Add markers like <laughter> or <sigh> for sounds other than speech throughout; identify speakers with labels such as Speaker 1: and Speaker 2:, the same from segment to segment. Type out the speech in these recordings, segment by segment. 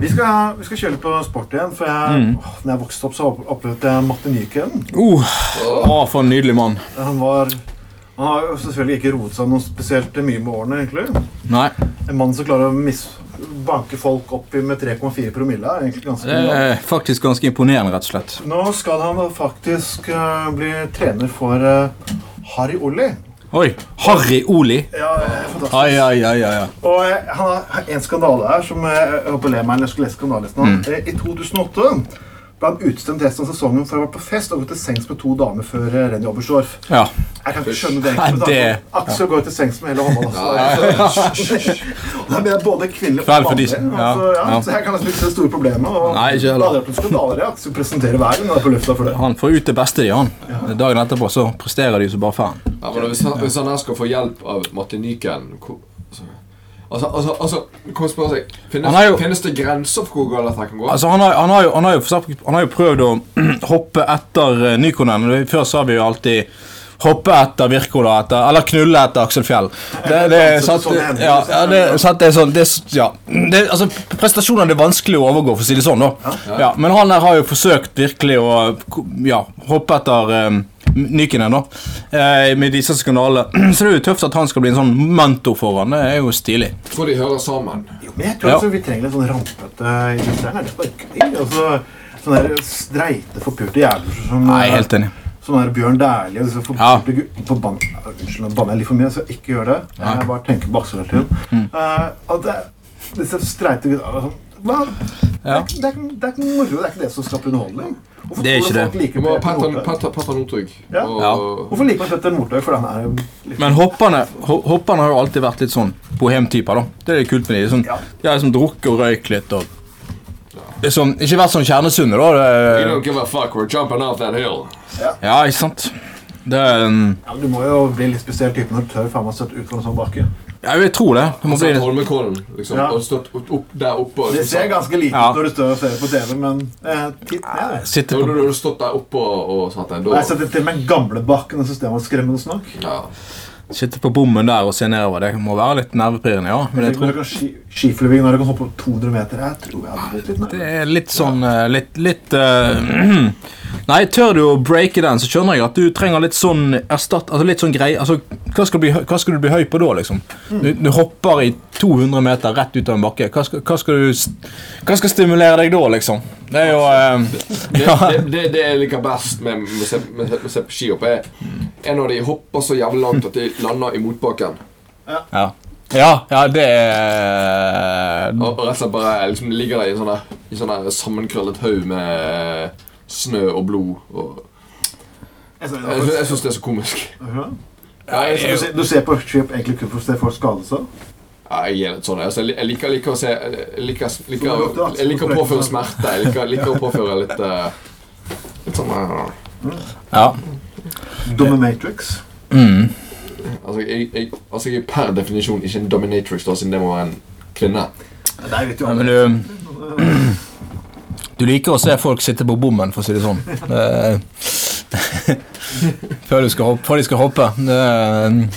Speaker 1: Vi skal, vi skal kjøre litt på sport igjen, for jeg,
Speaker 2: Mm.
Speaker 1: åh, når jeg vokste opp, så opp- opplevde jeg Matte Nykänen.
Speaker 2: Uh, å, for en nydelig mann.
Speaker 1: Han var Han har jo selvfølgelig ikke roet seg noe spesielt mye med årene, egentlig.
Speaker 2: Nei,
Speaker 1: En mann som klarer å mis banke folk opp i- med 3,4 promille, er egentlig ganske
Speaker 2: det
Speaker 1: bra.
Speaker 2: er faktisk ganske imponerende, rett og slett.
Speaker 1: Nå skal han da faktisk eh, bli trener for eh, Harry Olli.
Speaker 2: Oi, Harry Oli.
Speaker 1: Ja, eh, fantastisk.
Speaker 2: Ai, ai, ai, ai. ai.
Speaker 1: Og eh, han har en skandale her som eh, jeg håper ler meg når jeg skal lese skandalelisten.
Speaker 2: Mm.
Speaker 1: hans. Eh, I 2008 ble han utstemt resten av sesongen for å ha vært på fest og gått til sengs med to damer før eh, Renny Oberstdorf.
Speaker 2: Ja.
Speaker 1: Jeg kan ikke skjønne det.
Speaker 2: Nei,
Speaker 1: egentlig, med
Speaker 2: det-
Speaker 1: tanke på at Aksel går jo til sengs med hele hånda. Altså. Og da mener jeg både kvinnelige
Speaker 2: Vel
Speaker 1: og
Speaker 2: for de-
Speaker 1: mannlige. Altså,
Speaker 2: ja,
Speaker 1: ja,
Speaker 2: ja.
Speaker 1: så jeg kan nesten ikke se det store problemet. Og
Speaker 2: Nei, ikke heller.
Speaker 1: Det hadde vært en skandale i Aksel presenterer verden og er på lufta for det.
Speaker 2: Han får ut det beste i han. Dagen etterpå så presterer de som bare faen.
Speaker 3: Ja, men hvis han, hvis han her skal få hjelp av Martin Nyken hvor- altså, altså, altså, altså Kom og spør seg
Speaker 2: Han
Speaker 3: finnes,
Speaker 2: er jo-
Speaker 3: finnes det grenser for hvor galt dette kan gå?
Speaker 2: Altså, han har, han har, jo, han har, jo, for eksempel- han har jo prøvd å <clears throat> hoppe etter eh, Nykonen. Før så har vi jo alltid Hoppe etter Wirkola etter Eller knulle etter Aksel Fjell. Det, det, er
Speaker 1: Så-
Speaker 2: sant,
Speaker 1: sånn er det.
Speaker 2: ja, ja, det, er sant, det er sånn det, er s- ja. det, er- altså, Prestasjonene er vanskelig å overgå, for å si det sånn. da ja, Men han her har jo forsøkt virkelig å ko- ja, hoppe etter um, Nykonen, da. Eh, med disse skandalene. <clears throat> Så det er jo tøft at han skal bli en sånn mentor for han. Det er jo stilig.
Speaker 3: Jeg tror de hører sammen.
Speaker 1: Jo, men jeg tror
Speaker 2: Ja.
Speaker 1: altså, vi trenger litt sånn rampete illustrerende. Det er bare gøy. Altså, sånne der streite, forpurte jævler som
Speaker 2: Nei, helt enig.
Speaker 1: Sånn der Bjørn Dæhlie og disse
Speaker 2: Ja.
Speaker 1: forpurte gu- forbann- Unnskyld, nå banner jeg litt for mye, så ikke gjør det. Jeg bare tenker på Aksel hele tiden.
Speaker 2: Mm.
Speaker 1: Eh, at det, disse streite gutta altså, hva?
Speaker 2: Ja.
Speaker 1: det, er, ikke- det, er, ikke- det er ikke moro. Det er ikke det som skaper underholdning. Hvorfor
Speaker 2: Det er
Speaker 1: tror
Speaker 2: ikke
Speaker 1: folk
Speaker 2: det.
Speaker 1: liker
Speaker 3: Du må ha
Speaker 1: Petter
Speaker 3: Petter
Speaker 1: Northug?
Speaker 3: Petter- Petter Northug.
Speaker 1: Ja.
Speaker 3: Og-
Speaker 2: Ja.
Speaker 1: Hvorfor liker man Petter Northug? Fordi han er jo litt
Speaker 2: Men hopperne, ho- hopperne har jo alltid vært litt sånn bohemtyper. da. Det er det kult med de. Sånn,
Speaker 1: Ja.
Speaker 2: De har liksom drukket og røykt litt. og liksom, Ikke vært sånn kjernesunne, da.
Speaker 3: You don't
Speaker 2: Det,
Speaker 3: give a fuck, we're jumping off that hill.
Speaker 2: ja, ikke sant? Det, er, um,
Speaker 1: ja, men Du må jo bli litt spesiell type når du tør faen meg støtte ut fra en sånn bakke.
Speaker 2: ja, jeg Altså, tror det. det må bli
Speaker 3: Satt
Speaker 2: litt.
Speaker 3: Holmenkollen, liksom.
Speaker 1: Ja.
Speaker 3: Og stått opp, opp der oppe. og-
Speaker 1: Det ser ganske lite ut
Speaker 2: Ja.
Speaker 1: når du står og ser på TV, men eh, titt ned.
Speaker 2: Sitte
Speaker 3: Da hadde
Speaker 2: på
Speaker 3: du stått der oppe og, og satt der.
Speaker 1: Jeg
Speaker 3: Da,
Speaker 1: setter til meg gamlebakken og systemet var skremmende snakk.
Speaker 3: ja.
Speaker 2: sitte på bommen der og se nedover. Det må være litt nervepirrende, ja. Men jeg
Speaker 1: Tenk når
Speaker 2: tror
Speaker 1: du kan ski- Skiflyving når du kan hoppe opp 200 meter. Jeg tror jeg hadde blitt litt
Speaker 2: det
Speaker 1: nær.
Speaker 2: er litt sånn eh, Litt, litt eh, <clears throat> Nei, tør du å breake den, så skjønner jeg at du trenger litt sånn erstatt... Altså litt sånn greie Altså, hva skal, du bli, hø- hva skal du bli høy på da, liksom? Du, du hopper i 200 meter rett ut av en bakke. Hva skal, hva skal du st- Hva skal stimulere deg da, liksom? Det er jo eh,
Speaker 3: Det,
Speaker 2: ja,
Speaker 3: det, det, det jeg liker best med med å se, med, med å se på skihopp, er, er når de hopper så jævlig langt at de lander i motbakken.
Speaker 2: ja. ja, ja, det er
Speaker 3: Og, og rett og slett bare liksom, ligger der i en sånn der- i sånn der sammenkrøllet haug med eh, snø og blod. Og,
Speaker 1: Jeg ser-
Speaker 3: jeg sy- jeg syns det er så komisk.
Speaker 1: Ja.
Speaker 3: Ja, jeg,
Speaker 1: Du
Speaker 3: jeg,
Speaker 1: ser- Du ser på skip egentlig kun for å se folk skade seg.
Speaker 3: ja, jeg gir litt sånn altså, jeg, li- jeg liker, liker å se Jeg liker, liker, jeg liker å påføre smerte. Jeg liker, liker å påføre litt eh, Litt sånn eh,
Speaker 2: Ja.
Speaker 1: Dumme Matrix.
Speaker 2: Mm.
Speaker 3: Altså, jeg, jeg, altså, jeg er per definisjon ikke en dominatrix, da, siden det må være en kvinne.
Speaker 1: Ja, Der vet jo
Speaker 2: Ja,
Speaker 1: alle.
Speaker 2: men du <clears throat> Du liker å se folk sitte på bommen, for å si det sånn. Det- <laughs> Før de skal hoppe. Før de skal hoppe. um,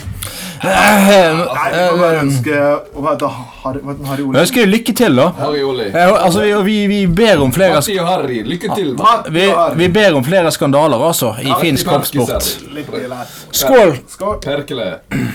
Speaker 1: Nei, vi kan bare
Speaker 2: Det-
Speaker 1: ønske og Hva heter Harry, hva heter Harry
Speaker 2: Jeg
Speaker 1: Ole?
Speaker 2: ønsker deg lykke til, da.
Speaker 3: Harry Olli.
Speaker 2: Eh, Altså, vi, og vi, vi ber om flere sk-
Speaker 3: Matti og Harry, lykke til. da.
Speaker 1: Matti
Speaker 2: vi,
Speaker 1: og Harry.
Speaker 2: vi ber om flere skandaler, altså, i Ah, finsk
Speaker 3: Matti
Speaker 2: kampsport.
Speaker 3: Perkis,
Speaker 1: Litt til her.
Speaker 2: Skål!
Speaker 1: Skål.
Speaker 3: Perkele.